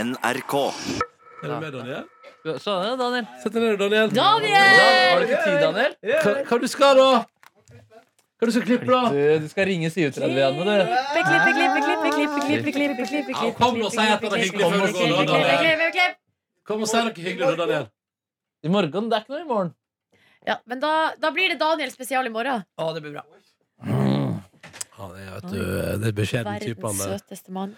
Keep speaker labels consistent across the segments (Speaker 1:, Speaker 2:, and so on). Speaker 1: NRK.
Speaker 2: Er du med, Daniel?
Speaker 3: Så, ja, Daniel.
Speaker 2: Sett deg ned, Daniel.
Speaker 3: Da- Har
Speaker 4: Daniel!
Speaker 3: du ikke tid, Daniel?
Speaker 2: Hva, hva du skal da? Hva du skal klippe, da?
Speaker 3: Du, du skal ringe Siv-trallianne, du.
Speaker 4: Klippe, klippe, klippe, klippe, klippe, klippe, klippe, klippe,
Speaker 2: Ja, kom og si at det er hyggelig før du går, da,
Speaker 4: klippe,
Speaker 2: Daniel.
Speaker 4: klippe, klippe.
Speaker 2: Kom og si noe hyggelig, da, Daniel.
Speaker 3: I morgen. Det er ikke noe i morgen.
Speaker 4: Ja, men da, da blir det Daniel spesial i morgen.
Speaker 3: Å, det blir bra.
Speaker 2: Han er, vet du, det er beskjeden type,
Speaker 4: Verdens
Speaker 2: han der.
Speaker 4: søteste mann.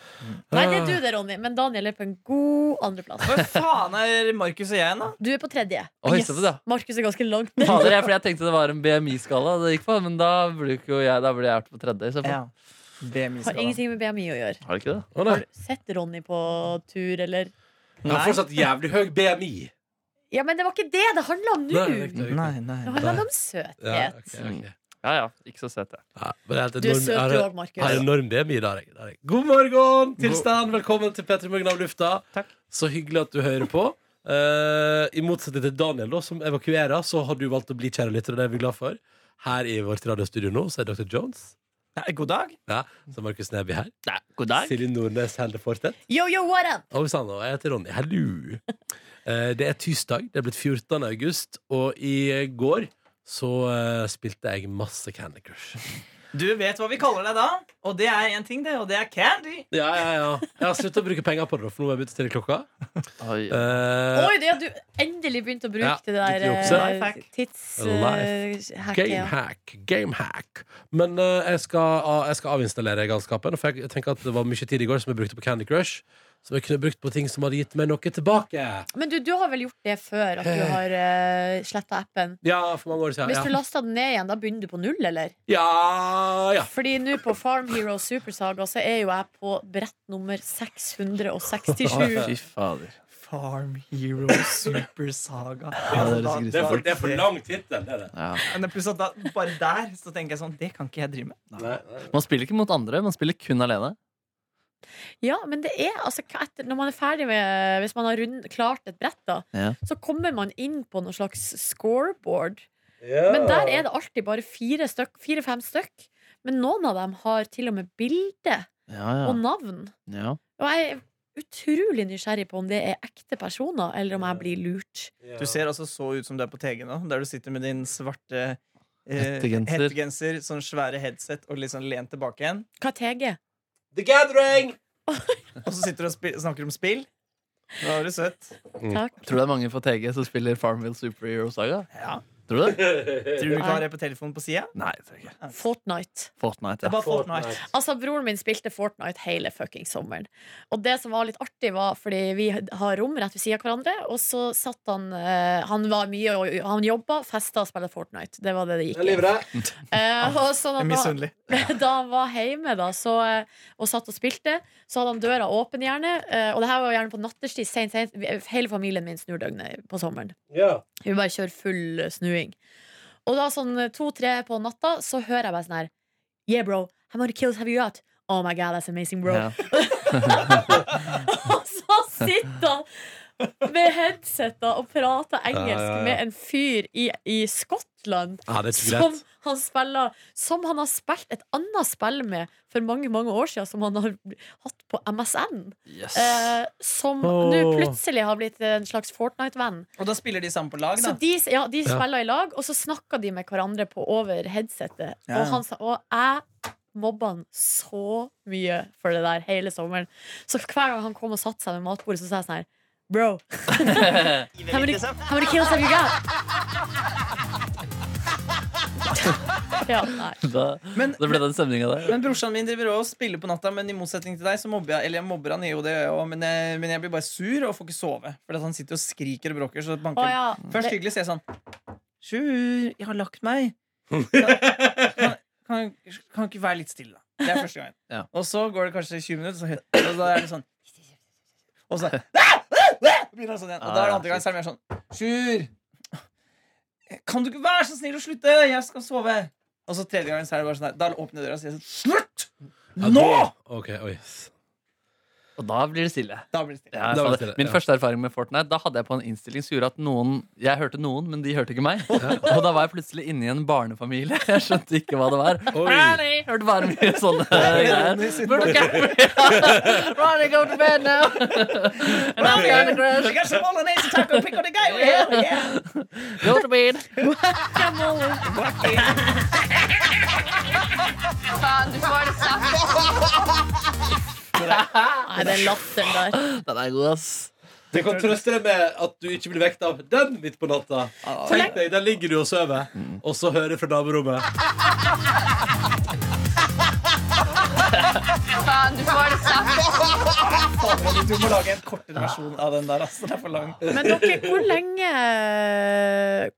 Speaker 4: Nei, det er du det, Ronny, men Daniel er på en god andreplass.
Speaker 5: Hvor faen er Markus og jeg igjen, da?
Speaker 4: Du er på tredje.
Speaker 3: Oi, så bra.
Speaker 4: Markus er ganske langt ned.
Speaker 3: Fader, jeg, fordi jeg tenkte det var en BMI-skala det gikk på, men da burde jo ikke jeg, da burde jeg vært på tredje. i så fall.
Speaker 4: Har ingenting med BMI å gjøre.
Speaker 3: Har det ikke det?
Speaker 2: Å, nei.
Speaker 4: Sett Ronny på tur, eller
Speaker 2: Han har fortsatt jævlig høy BMI.
Speaker 4: Ja, men det var ikke det det handla om
Speaker 2: Nei,
Speaker 4: nå!
Speaker 2: riktig, riktig.
Speaker 5: Nei, nei.
Speaker 4: Det handla om
Speaker 2: Ja,
Speaker 4: søthet.
Speaker 2: ok, ok.
Speaker 3: Ja ja, ikke så søt, jeg.
Speaker 2: Ja, men det er helt
Speaker 4: Du er
Speaker 2: enorm-
Speaker 4: søt,
Speaker 2: er
Speaker 4: du
Speaker 2: det-
Speaker 4: òg,
Speaker 2: Jeg har
Speaker 4: Markus.
Speaker 2: enorm BMI der, jeg. Der jeg. God morgen, tilstand! Velkommen til Petter Morgen av lufta.
Speaker 5: Takk.
Speaker 2: Så hyggelig at du hører på. Eh, I motsetning til Daniel, da, som evakuerer, så har du valgt å bli kjære lytter, og det er vi glad for. Her i vårt radiostudio nå så er Dr. Jones.
Speaker 5: God dag.
Speaker 2: Ja, så er Markus Neby her.
Speaker 3: God dag.
Speaker 2: Silje Nordnes holder fortet.
Speaker 4: Yo, yo, what up?
Speaker 2: Og Sanne, og jeg heter Ronny. Hallo! Eh, det er tirsdag. Det er blitt 14. august, og i går så eh, spilte jeg masse Candy Crush.
Speaker 5: Du vet hva vi kaller deg da, og det er én ting, det, og det er Candy.
Speaker 2: Ja, ja, ja. Jeg har sluttet å bruke penger på det, for nå har jeg begynt å stille klokka.
Speaker 3: Oi.
Speaker 2: Eh,
Speaker 4: Oi, det, ja, du endelig begynte å bruke
Speaker 2: Ja,
Speaker 4: det
Speaker 2: litt
Speaker 4: der
Speaker 2: jukse.
Speaker 4: eh,
Speaker 5: Lifehack.
Speaker 4: tids...
Speaker 2: Life.
Speaker 4: eh, hacket, ja.
Speaker 2: Gamehack, gamehack. Men eh, jeg, skal, av- jeg skal avinstallere galskapen. For jeg, jeg tenker at Det var mye tid i går som jeg brukte på Candy Crush. Som jeg kunne brukt på ting som hadde gitt meg noe tilbake.
Speaker 4: Men du, du har vel gjort det før, at du har uh, sletta appen?
Speaker 2: Ja, for mange år
Speaker 4: Hvis du
Speaker 2: siden. Eh. Ja,
Speaker 4: lasta den ned igjen, da begynner du på null, eller?
Speaker 2: ja, ja.
Speaker 4: Fordi nå på Farm Hero Supersaga så er jo jeg på brett nummer 667.
Speaker 3: Fy fader.
Speaker 5: Farm Hero Super Saga. Altså, da,
Speaker 3: det
Speaker 2: Det er for, det er for lang tittel, det er det.
Speaker 5: men pluss at da, bare der så tenker jeg sånn Det kan ikke jeg drive med.
Speaker 2: Nei, nei.
Speaker 3: Man spiller ikke mot andre, man spiller kun alene.
Speaker 4: Ja, men det er altså hva etter, Når man er ferdig med Hvis man har rund, klart et brett, da,
Speaker 3: Ja.
Speaker 4: så kommer man inn på noe slags scoreboard. Men der er det alltid bare fire-fem stykk, fire, fem stykk. Men noen av dem har til og med bilde
Speaker 3: Ja,
Speaker 4: og navn.
Speaker 3: ja.
Speaker 4: Og jeg er utrolig nysgjerrig på om det er ekte personer, eller om jeg blir lurt.
Speaker 5: Du ser altså så ut som du er på TG nå, der du sitter med din svarte eh,
Speaker 3: Hettegenser.
Speaker 5: hettegenser, sånn svære headset og litt sånn lent tilbake igjen.
Speaker 4: Hva er TG?
Speaker 2: The Gathering!
Speaker 5: Og så sitter du og spi- snakker om spill. Da er du søt.
Speaker 4: Takk.
Speaker 3: Tror du det er mange fra TG som spiller Farmville Superhero Saga?
Speaker 5: Ja.
Speaker 3: Tror du det?
Speaker 5: Tror du ikke han er på telefonen på sida?
Speaker 3: Nei, jeg tror ikke.
Speaker 4: Fortnite.
Speaker 3: Fortnite,
Speaker 5: Det er
Speaker 3: ja.
Speaker 5: bare Fortnite.
Speaker 4: Altså, Broren min spilte Fortnite hele fucking sommeren. Og det som var litt artig, var fordi vi har rom rett ved siden av hverandre, og så satt han eh, Han var mye og Han jobba, festa og spilte Fortnite. Det var det det gikk i. Eh, og
Speaker 5: Jeg er
Speaker 4: sånn at da,
Speaker 5: Misunnelig.
Speaker 4: da han var hjemme da, så, eh, og satt og spilte, så hadde han døra åpen gjerne. eh, Og det her var jo gjerne på nattestid. Sent, sent. Vi- eh, Hele familien min snur døgnet på sommeren. Hun bare kjører full eh, snuing. Og da sånn to-tre på natta, så hører jeg bare sånn her Yeah, bro. How many kills have you got? Oh my god, that's amazing, bro.
Speaker 3: Ja.
Speaker 4: Og så sitter han med headsetet og prater engelsk
Speaker 2: Ja, ja, ja.
Speaker 4: med en fyr i, i Skottland.
Speaker 2: Ja, det er ikke
Speaker 4: Som
Speaker 2: lett.
Speaker 4: han, spiller, som han har spilt et annet spill med for mange mange år siden, som han har hatt på MSN.
Speaker 3: Yes.
Speaker 4: Eh, som
Speaker 2: Åh.
Speaker 4: nå plutselig har blitt en slags Fortnite-venn.
Speaker 5: Og da spiller de sammen på lag,
Speaker 4: Så
Speaker 5: da.
Speaker 4: de, ja, de spiller i lag, og så snakker de med hverandre på over headsetet.
Speaker 5: Ja.
Speaker 4: Og, han, sa- og jeg mobba han så mye for det der hele sommeren. Så hver gang han kom og satte seg ved matbordet, så sa jeg sånn her Bro, how many, how many kills have you got? Ja, nei.
Speaker 3: Da,
Speaker 5: Men-
Speaker 3: da ble det den stemninga der.
Speaker 5: Men brorsan min driver også og spiller på natta, men i motsetning til deg, så mobber jeg Eller jeg mobber han i hodet, jeg også, men, jeg- men jeg blir bare sur og får ikke sove. Fordi at han sitter og skriker og bråker. Så banker
Speaker 4: Å ja.
Speaker 5: Først
Speaker 4: Det,
Speaker 5: hyggelig sier jeg sånn Sjur, jeg har lagt meg. Kan, kan, kan ikke være litt stille, da. Det er første gangen.
Speaker 3: Ja.
Speaker 5: Og så går det kanskje 20 minutter, så, og da er det sånn Og så begynner han sånn igjen. Og da er det andre gangen så er det mer sånn Sjur, kan du ikke være så snill å slutte? Jeg skal sove. Og så tredje gangen så er det bare sånn her. Da åpner jeg døra og sier jeg sånn Slutt!
Speaker 2: Ja,
Speaker 5: Nå!
Speaker 2: det- Ok, oi.
Speaker 3: Og da blir det stille.
Speaker 5: Da blir det stille.
Speaker 3: Ja, jeg
Speaker 2: Da
Speaker 3: sa
Speaker 2: var det
Speaker 3: det.
Speaker 2: stille,
Speaker 3: Min
Speaker 2: ja.
Speaker 3: første erfaring med Fortnite Da hadde jeg på en innstilling som gjorde at noen Jeg hørte noen, men de hørte ikke meg. Og da var jeg plutselig inne i en barnefamilie. Jeg skjønte ikke hva det var.
Speaker 2: Oi.
Speaker 3: Ronny! Hørte bare mye sånne greier.
Speaker 5: Ronny sitt
Speaker 3: Burde ikke- Ronny, go to bed now! And I'm gonna
Speaker 5: I
Speaker 3: crash.
Speaker 5: got some Polynesian taco, pick on the guy over here. Yeah.
Speaker 3: Go to bed.
Speaker 4: Nei, den latteren der.
Speaker 3: Den er god, ass.
Speaker 2: Det kan trøste deg med at du ikke blir vekt av den midt på natta. Tenk deg, Der ligger du og sover, og så hører fra damerommet.
Speaker 5: Fader, Du må lage en kortere versjon av den der. Altså. Den er for lang.
Speaker 4: Men dere, hvor lenge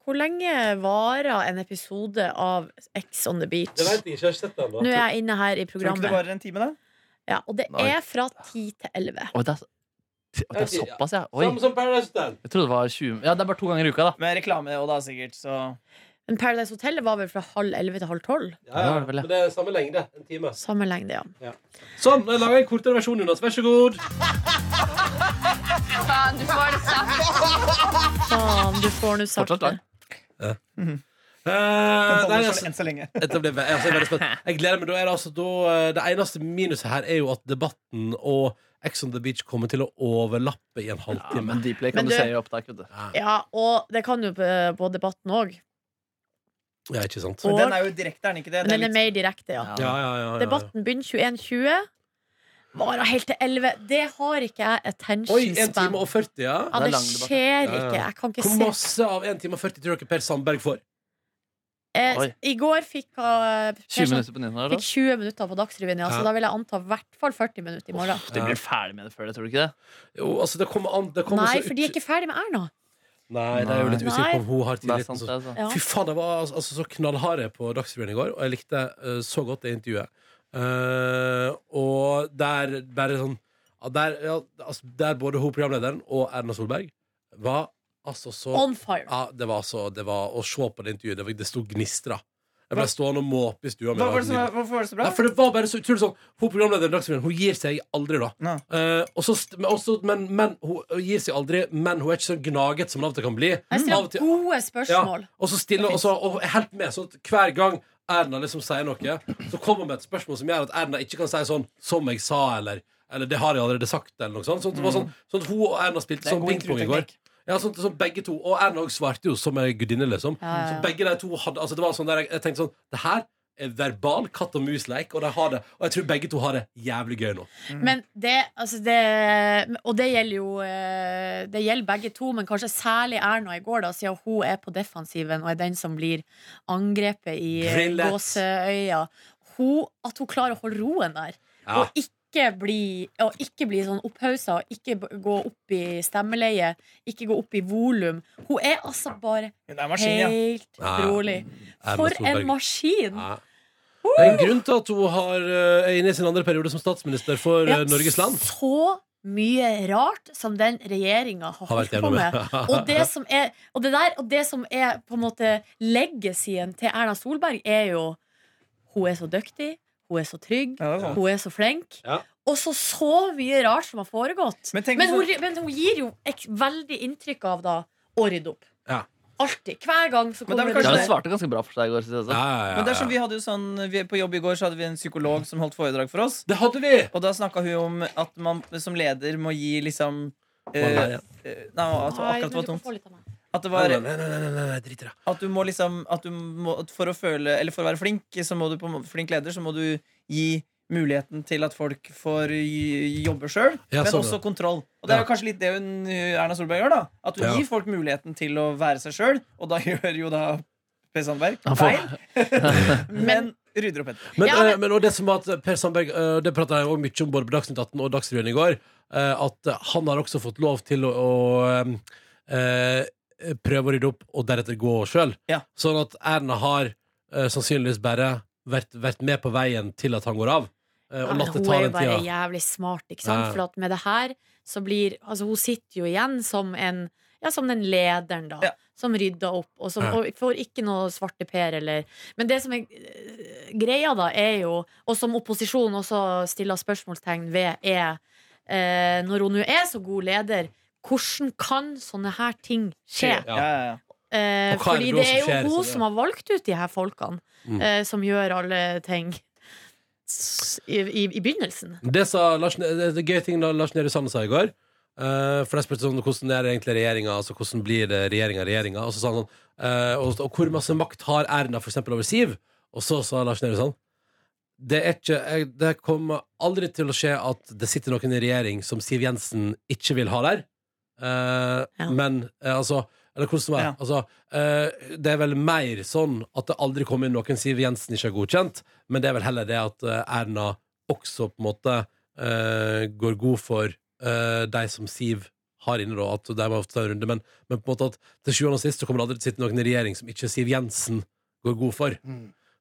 Speaker 4: Hvor lenge varer en episode av X on the Beach?
Speaker 2: Det vet jeg ikke, jeg har ikke sett det
Speaker 4: Nå
Speaker 2: ennå.
Speaker 4: er jeg inne her i
Speaker 5: Tror du ikke det
Speaker 4: programmet.
Speaker 5: varer en time, da?
Speaker 4: Ja, og det
Speaker 3: Nei.
Speaker 4: er fra 10 til 11.
Speaker 3: Oi, det er, så- Oi, det er såpass, ja. Oi.
Speaker 2: Samme som Paradise Hotel.
Speaker 3: Jeg trodde det var 20 Ja, det er bare to ganger i uka, da.
Speaker 5: Med reklame og da, sikkert. Så
Speaker 4: Men Paradise Hotel var vel fra halv 11 til halv 12?
Speaker 2: Ja,
Speaker 3: Ja,
Speaker 2: ja.
Speaker 3: vel, ja.
Speaker 2: Men det er samme lengde. En time.
Speaker 4: Samme lengde, ja.
Speaker 2: Sånn, jeg lager en kortere versjon, Jonas. Vær så god. Eh,
Speaker 4: Faen, du får nå sagt
Speaker 3: Fortsatt
Speaker 4: det.
Speaker 3: lang.
Speaker 2: Eh,
Speaker 5: den
Speaker 2: nei,
Speaker 5: holder
Speaker 2: altså,
Speaker 5: for enn så lenge.
Speaker 2: Dette ble, ve- altså, jeg, er veldig spent. jeg gleder meg. Da er det, altså, da, eh, det eneste minuset her er jo at debatten og Ex on the Beach kommer til å overlappe i en
Speaker 3: Ja,
Speaker 2: halvtime.
Speaker 3: men Deepplay kan
Speaker 4: Men
Speaker 3: du
Speaker 4: du-
Speaker 3: se i opptak. vet du.
Speaker 4: Ja, og det kan jo på på debatten òg.
Speaker 2: Ja, ikke sant?
Speaker 5: Men den er jo direkte, er den ikke det?
Speaker 4: Men
Speaker 5: Det er
Speaker 4: den er
Speaker 5: litt-
Speaker 4: mer direkte, ja.
Speaker 2: Ja, ja, ja, ja, ja.
Speaker 4: Debatten begynner 21.20. Varer helt til 11. Det har ikke jeg attention
Speaker 2: Oi, 1
Speaker 4: span.
Speaker 2: time og 40, ja.
Speaker 4: Ja,
Speaker 3: Det er
Speaker 4: det
Speaker 3: lang debatt.
Speaker 4: skjer
Speaker 2: Ja, ja.
Speaker 4: ikke. Jeg kan ikke
Speaker 2: Hvor
Speaker 4: se.
Speaker 2: masse av 1 time og 40 tror dere Per Sandberg får?
Speaker 4: Eh,
Speaker 3: Oi.
Speaker 4: I går fikk uh,
Speaker 3: 20 minutter på nyhetene. da.
Speaker 4: Fikk 20 minutter på Dagsrevyen, ja,
Speaker 2: Ja.
Speaker 4: så da vil jeg anta i hvert fall 40 minutter i morgen.
Speaker 3: Uff, De blir ferdig med det før det, tror du ikke det?
Speaker 2: Jo, altså, det kommer an det kommer
Speaker 4: Nei,
Speaker 2: så
Speaker 4: for de er
Speaker 2: ut-
Speaker 4: ikke ferdig med Erna.
Speaker 2: Nei, det er jo litt
Speaker 4: Nei.
Speaker 2: usikker på om hun har
Speaker 3: Det er sant,
Speaker 2: tilliten.
Speaker 3: det,
Speaker 2: så-
Speaker 3: altså.
Speaker 4: Ja.
Speaker 2: Fy faen, det var altså, så knallharde på Dagsrevyen i går, og jeg likte eh, så godt det intervjuet. Eh, og der bare sånn ja, der, ja, altså, der både hun programlederen og Erna Solberg var altså så
Speaker 4: On fire.
Speaker 2: ja, det var så, det var å se på det intervjuet. Det, var, det sto gnistra. Jeg ble stående og måpe i stua mi.
Speaker 5: Hva var det som, hvorfor var det så bra?
Speaker 2: Ja, for det var bare så utrolig sånn Hun programlederen i Dagsrevyen Hun gir seg aldri da
Speaker 5: Nei.
Speaker 2: Eh, og så st- men, også, men, men hun gir seg aldri Men hun er ikke så gnaget som det av og til kan bli
Speaker 4: Jeg
Speaker 2: Av og
Speaker 4: stiller
Speaker 2: til-
Speaker 4: gode
Speaker 2: ja,
Speaker 4: spørsmål.
Speaker 2: Og så stiller og, så, og er helt med sånn at Hver gang Erna liksom sier noe Så kommer hun med et spørsmål som gjør at Erna ikke kan si sånn Som jeg sa eller Eller det har jeg allerede sagt eller noe sånt Sånn at det var sånn, sånn at hun og
Speaker 5: Mm.
Speaker 2: Erna
Speaker 5: Det
Speaker 2: spilte
Speaker 5: er
Speaker 2: sånn
Speaker 5: god
Speaker 2: ping-pong i går
Speaker 5: intervjuteknikk.
Speaker 2: ja, sånn, sånn begge to Og Erna også svarte jo som ei gudinne, liksom.
Speaker 4: Ja, ja, ja.
Speaker 2: Så begge de to hadde Altså, det var sånn der jeg, jeg tenkte sånn Det her er verbal katt og mus-leik, og de har det. Og jeg tror begge to har det jævlig gøy nå.
Speaker 4: Men det, altså det Og det gjelder jo eh, Det gjelder begge to, men kanskje særlig Erna i går, da, siden hun er på defensiven og er den som blir angrepet i eh,
Speaker 2: Drillet.
Speaker 4: gåseøya. Hun, at hun klarer å holde roen der.
Speaker 2: Ja.
Speaker 4: Og ikke bli, og ikke bli sånn opphausa, og ikke b- gå opp i stemmeleie, ikke gå opp i volum. Hun er altså bare
Speaker 5: Hun er en maskin, ja.
Speaker 4: helt
Speaker 2: Ja.
Speaker 4: rolig.
Speaker 2: Erna
Speaker 4: For
Speaker 2: Solberg.
Speaker 4: en maskin!
Speaker 2: Ja. Det er en grunn til at hun har, eh, er inne i sin andre periode som statsminister for eh,
Speaker 4: Ja,
Speaker 2: Norges land.
Speaker 4: Så mye rart som den regjeringa har
Speaker 2: Har vært
Speaker 4: holdt på
Speaker 2: gjennom
Speaker 4: med. Og
Speaker 2: det.
Speaker 4: det, som er, og det der, og det som er på en måte legacyen til Erna Solberg, er jo Hun er så dyktig, hun er så trygg,
Speaker 5: Ja, det er sånn. sant.
Speaker 4: hun er så flink.
Speaker 2: Ja.
Speaker 4: Og så så mye rart som har
Speaker 5: Men
Speaker 4: foregått. Men,
Speaker 5: tenk
Speaker 4: hun,
Speaker 5: så-
Speaker 4: men hun gir jo ek, veldig inntrykk av da å rydde opp.
Speaker 2: Ja.
Speaker 4: Alltid. Hver
Speaker 5: Men
Speaker 4: gang så
Speaker 5: det er
Speaker 4: kommer
Speaker 5: vel
Speaker 3: Ja,
Speaker 5: kanskje
Speaker 4: det
Speaker 3: hun svarte ganske bra for seg i går. synes jeg altså.
Speaker 2: Ja,
Speaker 3: også.
Speaker 2: ja, ja,
Speaker 5: Men det er som
Speaker 2: ja.
Speaker 5: vi hadde jo sånn vi, På jobb i går så hadde vi en psykolog som holdt foredrag for oss.
Speaker 2: Det hadde vi!
Speaker 5: Og da snakka hun om at man som leder må gi liksom
Speaker 2: Nei,
Speaker 5: eh,
Speaker 2: ja.
Speaker 5: eh, Nei, at akkurat
Speaker 4: Nei,
Speaker 5: det var
Speaker 4: men du kan
Speaker 5: tomt.
Speaker 4: få litt av meg.
Speaker 5: At det
Speaker 2: Nei,
Speaker 5: var
Speaker 2: nei, nei, nei, nei, nei, nei, drit i det.
Speaker 5: At du må liksom at du må, at For å føle Eller for å være flink Så må du på en måte Flink leder Så må du gi muligheten til at folk får j- jobbe sjøl,
Speaker 2: Ja,
Speaker 5: men
Speaker 2: sånn,
Speaker 5: også
Speaker 2: ja.
Speaker 5: kontroll. Og det er jo
Speaker 2: Ja.
Speaker 5: kanskje litt det hun, Erna Solberg gjør, da. At hun
Speaker 2: Ja.
Speaker 5: gir folk muligheten til å være seg sjøl, og da gjør jo da Per Sandberg
Speaker 3: Han får-
Speaker 5: feil, men rydder opp etter.
Speaker 2: Men,
Speaker 4: Ja, men-
Speaker 2: eh, men og det som var at Per Sandberg eh, Det prata jeg også mye om både på Dagsnytt 18 og Dagsrevyen i går. eh, At eh, han har også fått lov til å, å eh, eh, prøve å rydde opp og deretter gå sjøl.
Speaker 5: Ja.
Speaker 2: Sånn at Erna har eh, sannsynligvis bare vært, vært med på veien til at han går av. eh,
Speaker 4: Ja,
Speaker 2: og
Speaker 4: men
Speaker 2: latt det
Speaker 4: Ah, hun
Speaker 2: ta
Speaker 4: er jo
Speaker 2: den
Speaker 4: bare
Speaker 2: tida.
Speaker 4: jævlig smart, ikke sant?
Speaker 2: Ja.
Speaker 4: For at med det her så blir Altså, hun sitter jo igjen som en ja, som den lederen, da.
Speaker 5: Ja.
Speaker 4: Som rydda opp, og som
Speaker 2: Ja.
Speaker 4: og får ikke noe svarteper, eller Men det som er eh, øh, greia, da, er jo Og som opposisjonen også stiller spørsmålstegn ved, er eh, når hun nå er så god leder, hvordan kan sånne her ting skje?
Speaker 2: Ja.
Speaker 5: Ja, ja, ja.
Speaker 4: Eh,
Speaker 2: Og hva er
Speaker 4: fordi
Speaker 2: det da
Speaker 4: det
Speaker 2: som
Speaker 4: er jo
Speaker 2: skjer, så
Speaker 4: hun
Speaker 2: det-
Speaker 4: som har valgt ut de her folkene,
Speaker 2: Mm.
Speaker 4: eh, som gjør alle ting. S- I, i, i begynnelsen.
Speaker 2: Det sa Lars, det, det gøy ting da Lars Nehru Sand sa i går. eh, for jeg spurte sånn, hvordan er det egentlig regjeringa altså, hvordan blir det regjeringa regjeringa. Og så sa han sånn eh, og, og hvor masse makt har Erna for eksempel over Siv? Og så sa Lars Nehru Sand det, er ikke, jeg, det kommer aldri til å skje at det sitter noen i regjering som Siv Jensen ikke vil ha der. Eh,
Speaker 4: Ja.
Speaker 2: Men eh, altså eller hvordan det var.
Speaker 5: Ja.
Speaker 2: Altså, eh, det er vel mer sånn at det aldri kommer inn noen Siv Jensen ikke har godkjent, men det er vel heller det at eh, Erna også på en måte eh, går god for eh, de som Siv har inne, da, at de må ta en runde. Men, men på en måte at til sjuende og sist så kommer det aldri til å sitte noen i regjering som ikke Siv Jensen går god for.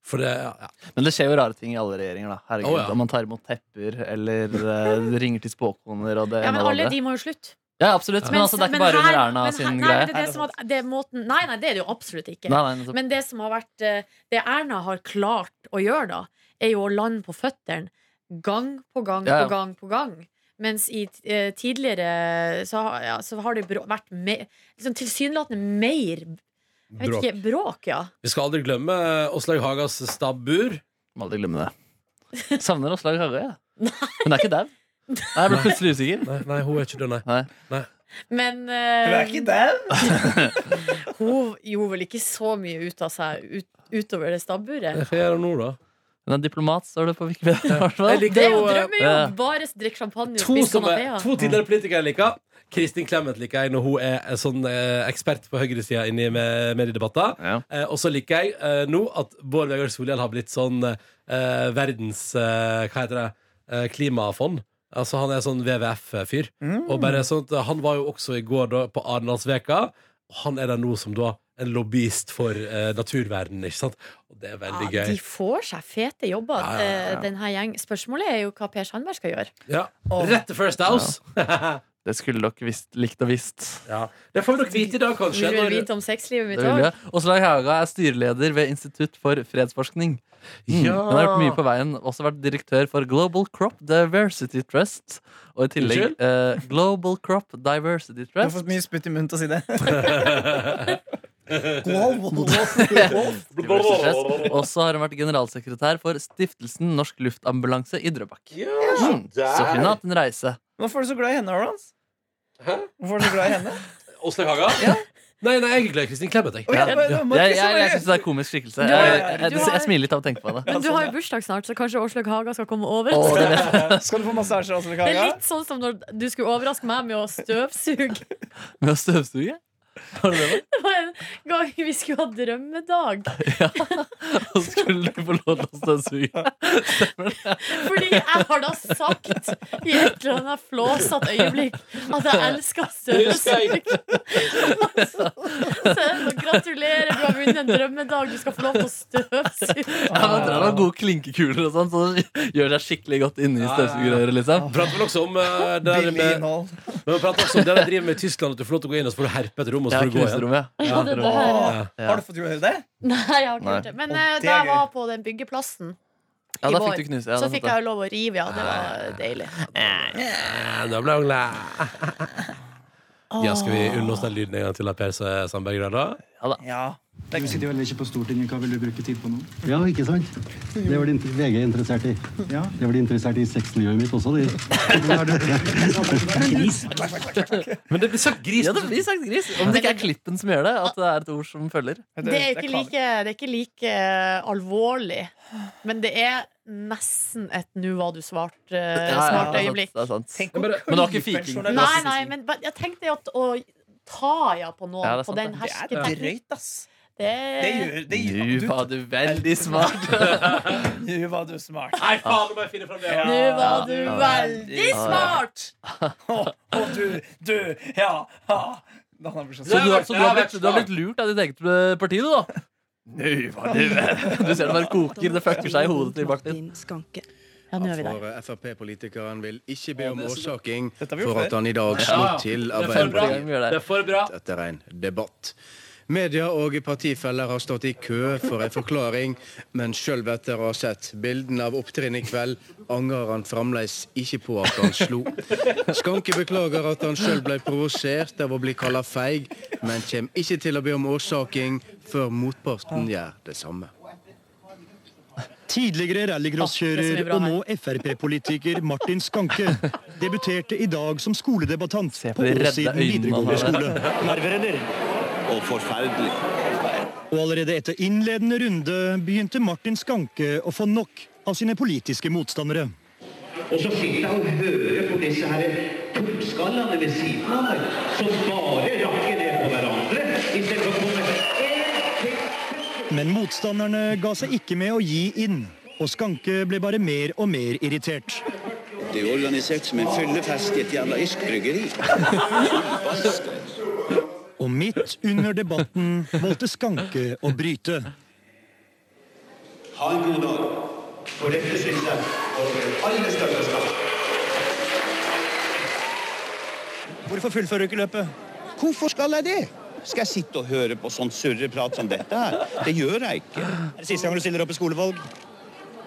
Speaker 2: For det, ja, ja.
Speaker 3: Men det skjer jo rare ting i alle regjeringer. da
Speaker 2: Å,
Speaker 3: Herregud,
Speaker 2: ja.
Speaker 3: Om man tar imot tepper eller eh, ringer til spåkoner og det
Speaker 4: Ja,
Speaker 3: ene
Speaker 4: men
Speaker 3: og det
Speaker 4: alle
Speaker 3: andre.
Speaker 4: de må jo slutte.
Speaker 3: Ja, absolutt. Men, altså, det er ikke bare under
Speaker 4: her-
Speaker 3: Erna
Speaker 4: men her-
Speaker 3: sin
Speaker 4: nei,
Speaker 3: greie.
Speaker 4: men Det er det som at, det er måten, nei, nei, det er det jo absolutt ikke.
Speaker 3: Nei, altså- nei, nettopp.
Speaker 4: Men det som har vært eh, Det Erna har klart å gjøre da Er jo å lande på føtteren Gang på gang
Speaker 3: Ja, ja.
Speaker 4: på gang på gang Mens i eh, tidligere Så, har- ja, så har det brå- vært me, liksom, Tilsynelatende mer Jeg vet
Speaker 2: Bråk.
Speaker 4: ikke, bråk, ja
Speaker 2: Vi skal aldri glemme eh, Åslaug Hagas stabbur.
Speaker 3: Må aldri glemme det. Savner Åslaug Harre. jeg. Hun er ikke dau. Nei, Jeg ble plutselig usikker.
Speaker 2: Nei, nei, hun er ikke det, nei.
Speaker 3: Nei.
Speaker 4: Men
Speaker 5: Du
Speaker 4: eh,
Speaker 5: er ikke den?
Speaker 4: hun gjorde vel ikke så mye ut av seg ut, Utover det stabburet
Speaker 2: Hva gjør hun nå, da?
Speaker 3: Hun er diplomat, står det på Wikipedia. i hvert fall.
Speaker 2: Jeg liker
Speaker 4: Det er jo
Speaker 2: jo, eh,
Speaker 3: ja.
Speaker 4: drømmejobb Bare drikke champagne og
Speaker 2: To,
Speaker 4: spise
Speaker 2: som er,
Speaker 4: kanatea.
Speaker 2: to tidligere politikere jeg liker. Kristin Clemet liker jeg når hun er en sånn eh, ekspert på høyresida inni med- mediedebatter.
Speaker 3: Ja.
Speaker 2: Eh, og så liker jeg eh, nå at Bård Vegar Solhjell har blitt sånn eh, verdens eh, Hva heter det? Eh, klimafond. Altså Han er sånn WWF-fyr.
Speaker 4: Mm.
Speaker 2: Og bare sånn at Han var jo også i går da, på Arendalsveka. Og han er der nå som da en lobbyist for eh, naturverden, ikke sant? Og det er veldig
Speaker 4: ja,
Speaker 2: gøy.
Speaker 4: Ah, De får seg fete jobber,
Speaker 2: Ja, ja, ja, ja.
Speaker 4: eh, den her gjeng. Spørsmålet er jo hva Per Sandberg skal gjøre.
Speaker 2: Ja. Rett til First House!
Speaker 3: Det skulle dere visst, likt og visst.
Speaker 2: Ja. Det får dere vite i dag, kanskje.
Speaker 4: Vil du
Speaker 2: når-
Speaker 4: vite om sexlivet mitt
Speaker 3: Det vil
Speaker 4: òg?
Speaker 3: jeg. Åslaug Hauga er styreleder ved Institutt for fredsforskning. Mm.
Speaker 2: Ja.
Speaker 3: Hun har vært mye på veien, også vært direktør for Global Crop Diversity Trust. Og i tillegg eh, Global Crop Diversity
Speaker 5: Du har fått
Speaker 3: Trust.
Speaker 5: mye spytt i munnen til å si det.
Speaker 3: Diversity Trust. Også har hun vært generalsekretær for Stiftelsen Norsk Luftambulanse i Drøbak. Mm. Så hun har hatt en reise.
Speaker 5: Hvorfor er du så glad i henne, Aronz?
Speaker 2: Hæ?
Speaker 5: Hvorfor er du så glad i henne?
Speaker 2: Åslaug Haga? Nei, nei, jeg er glad i Kristin Clemet. jeg.
Speaker 5: Å, ja,
Speaker 3: Jeg,
Speaker 5: men-
Speaker 3: jeg,
Speaker 5: men-
Speaker 3: jeg, jeg syns det er en komisk skikkelse.
Speaker 5: Du har-
Speaker 3: Jeg, jeg,
Speaker 5: du
Speaker 3: jeg,
Speaker 4: har-
Speaker 3: jeg smiler litt av å tenke på det.
Speaker 4: Men
Speaker 2: sånn,
Speaker 4: du har jo bursdag snart, så kanskje Åslaug Haga skal komme over.
Speaker 3: Å, det vet jeg.
Speaker 5: Eh, Skal du få massasje også,
Speaker 4: Det er
Speaker 5: Kaga?
Speaker 4: litt sånn som når du skulle overraske meg med å støvsuge.
Speaker 3: Med å støvsuge? Var det det?
Speaker 4: Det var en gang vi skulle ha drømmedag.
Speaker 3: Og skulle du få lov til å støvsuge?
Speaker 4: Fordi jeg har da sagt i et eller annet flåsete øyeblikk at jeg elsker støvsug. Så jeg må Gratulerer, du har vunnet en drømmedag. Du skal få lov til å støvsuge.
Speaker 3: Ja, men Dere har gode klinkekuler og sånn, så det gjør seg skikkelig godt inni
Speaker 2: Ja, ja, ja.
Speaker 3: støvsugerøret, liksom.
Speaker 2: Vi prater vel også om eh, det der
Speaker 5: Billig
Speaker 2: med,
Speaker 5: innhold.
Speaker 2: men vi prater også om det der de driver med i Tyskland, at du får lov til å gå inn og så får du herpe et rom. Og så
Speaker 3: Ja,
Speaker 2: får du gå igjen.
Speaker 3: knuserommet.
Speaker 4: Ja, det der, ja.
Speaker 5: Åh, Har du fått gjøre det?
Speaker 4: Nei, jeg har ikke
Speaker 3: Nei.
Speaker 4: gjort det. Men
Speaker 5: Og
Speaker 4: eh,
Speaker 5: det er
Speaker 4: da jeg
Speaker 5: gøy.
Speaker 4: var på den byggeplassen,
Speaker 3: Ja,
Speaker 4: i
Speaker 3: da
Speaker 4: vår.
Speaker 3: fikk du knuse. Ja,
Speaker 4: så
Speaker 3: da
Speaker 4: fikk
Speaker 3: satt
Speaker 4: jeg jo lov å rive, ja. Det var deilig.
Speaker 2: Ja, Da ble hun glad. Ja, skal vi unne oss den lyden en gang til av Per Sandberg? der Da?
Speaker 5: Ja.
Speaker 1: Du sitter vel ikke på Stortinget, hva vil du bruke tid på nå?
Speaker 6: Ja, ikke sant? Det var det inter- VG interessert i.
Speaker 1: Ja.
Speaker 6: Det var de interessert i sexmiljøet mitt også. De.
Speaker 2: Men det blir sagt gris.
Speaker 3: Ja, det blir sagt gris. Om det ikke er klippen som gjør det, at det er et ord som følger.
Speaker 4: Det er ikke like, det er ikke like eh, alvorlig, men det er nesten et 'nå hva du svarte' eh,
Speaker 3: Ja, ja,
Speaker 4: smart
Speaker 3: det er sant,
Speaker 4: øyeblikk.
Speaker 3: Det er sant.
Speaker 5: Tenk
Speaker 2: Men
Speaker 5: å
Speaker 2: bare-
Speaker 3: Men det var
Speaker 5: klype
Speaker 3: ikke
Speaker 5: en
Speaker 3: fiking.
Speaker 5: journalist.
Speaker 4: Nei, nei, men ba- jeg tenkte jo at å ta ja på noen
Speaker 3: Ja, det er
Speaker 4: på
Speaker 3: sant,
Speaker 4: den
Speaker 3: det.
Speaker 5: Det er
Speaker 4: hersketeknikken
Speaker 5: drøyt, ass.
Speaker 4: det,
Speaker 5: Det gjør, det gjør
Speaker 3: Du var du veldig smart.
Speaker 5: Du, du var du smart.
Speaker 2: Nei, faen, nå må jeg finne fram det.
Speaker 4: Nå var du
Speaker 5: Ja.
Speaker 4: veldig
Speaker 5: Ja.
Speaker 4: smart!
Speaker 5: Å, å, du, du, ja, ja. Da han blir så
Speaker 3: Så
Speaker 5: sur.
Speaker 3: du, har- så du, har, blitt, du har blitt lurt av ditt eget eh, parti, du, da? Nei, hva du Du ser det bare koker. Det fucker seg i hodet til Martin.
Speaker 7: Skanke.
Speaker 4: Ja, nå er vi der.
Speaker 8: For Frp-politikeren vil ikke be om årsaking
Speaker 5: Dette har vi gjort
Speaker 8: for at
Speaker 5: før.
Speaker 8: han i dag
Speaker 2: Ja,
Speaker 8: slo
Speaker 2: ja.
Speaker 8: til
Speaker 2: Det er for bra.
Speaker 3: Arbeiderpartiet.
Speaker 2: Det er for bra.
Speaker 8: etter en debatt. Media og partifeller har stått i kø for en forklaring, men sjøl etter å ha sett bildene av opptrinnet i kveld, angrer han fremdeles ikke på at han slo. Skanke beklager at han sjøl ble provosert av å bli kalla feig, men kommer ikke til å be om årsaking før motparten gjør det samme.
Speaker 7: Tidligere
Speaker 4: Ah, det som er
Speaker 7: rallycrosskjører
Speaker 4: bra
Speaker 7: og nå Frp-politiker Martin Skanke debuterte i dag som skoledebattant
Speaker 3: Se på
Speaker 7: på
Speaker 3: de redde
Speaker 7: Åssiden
Speaker 3: øynene
Speaker 7: videregående
Speaker 3: han har
Speaker 7: skole. Og allerede etter innledende runde begynte Martin Skanke å få nok av sine politiske motstandere.
Speaker 9: Og så sitter han og hører på disse her toppskallene ved siden av meg, som bare rakker ned på hverandre istedenfor å komme en til.
Speaker 7: Men motstanderne ga seg ikke med å gi inn, og Skanke ble bare mer og mer irritert.
Speaker 10: Det er organisert som en fyllefest i et jævla irskbryggeri.
Speaker 7: Og midt under debatten valgte Skanke å bryte.
Speaker 10: Ha en god dag. For dette synes jeg over alle største skatt.
Speaker 7: Hvorfor fullfører du ikke løpet?
Speaker 10: Hvorfor skal jeg det? Skal jeg sitte og høre på sånn surreprat som dette her? Det gjør jeg ikke.
Speaker 7: Er det siste gang du stiller opp i skolevalg?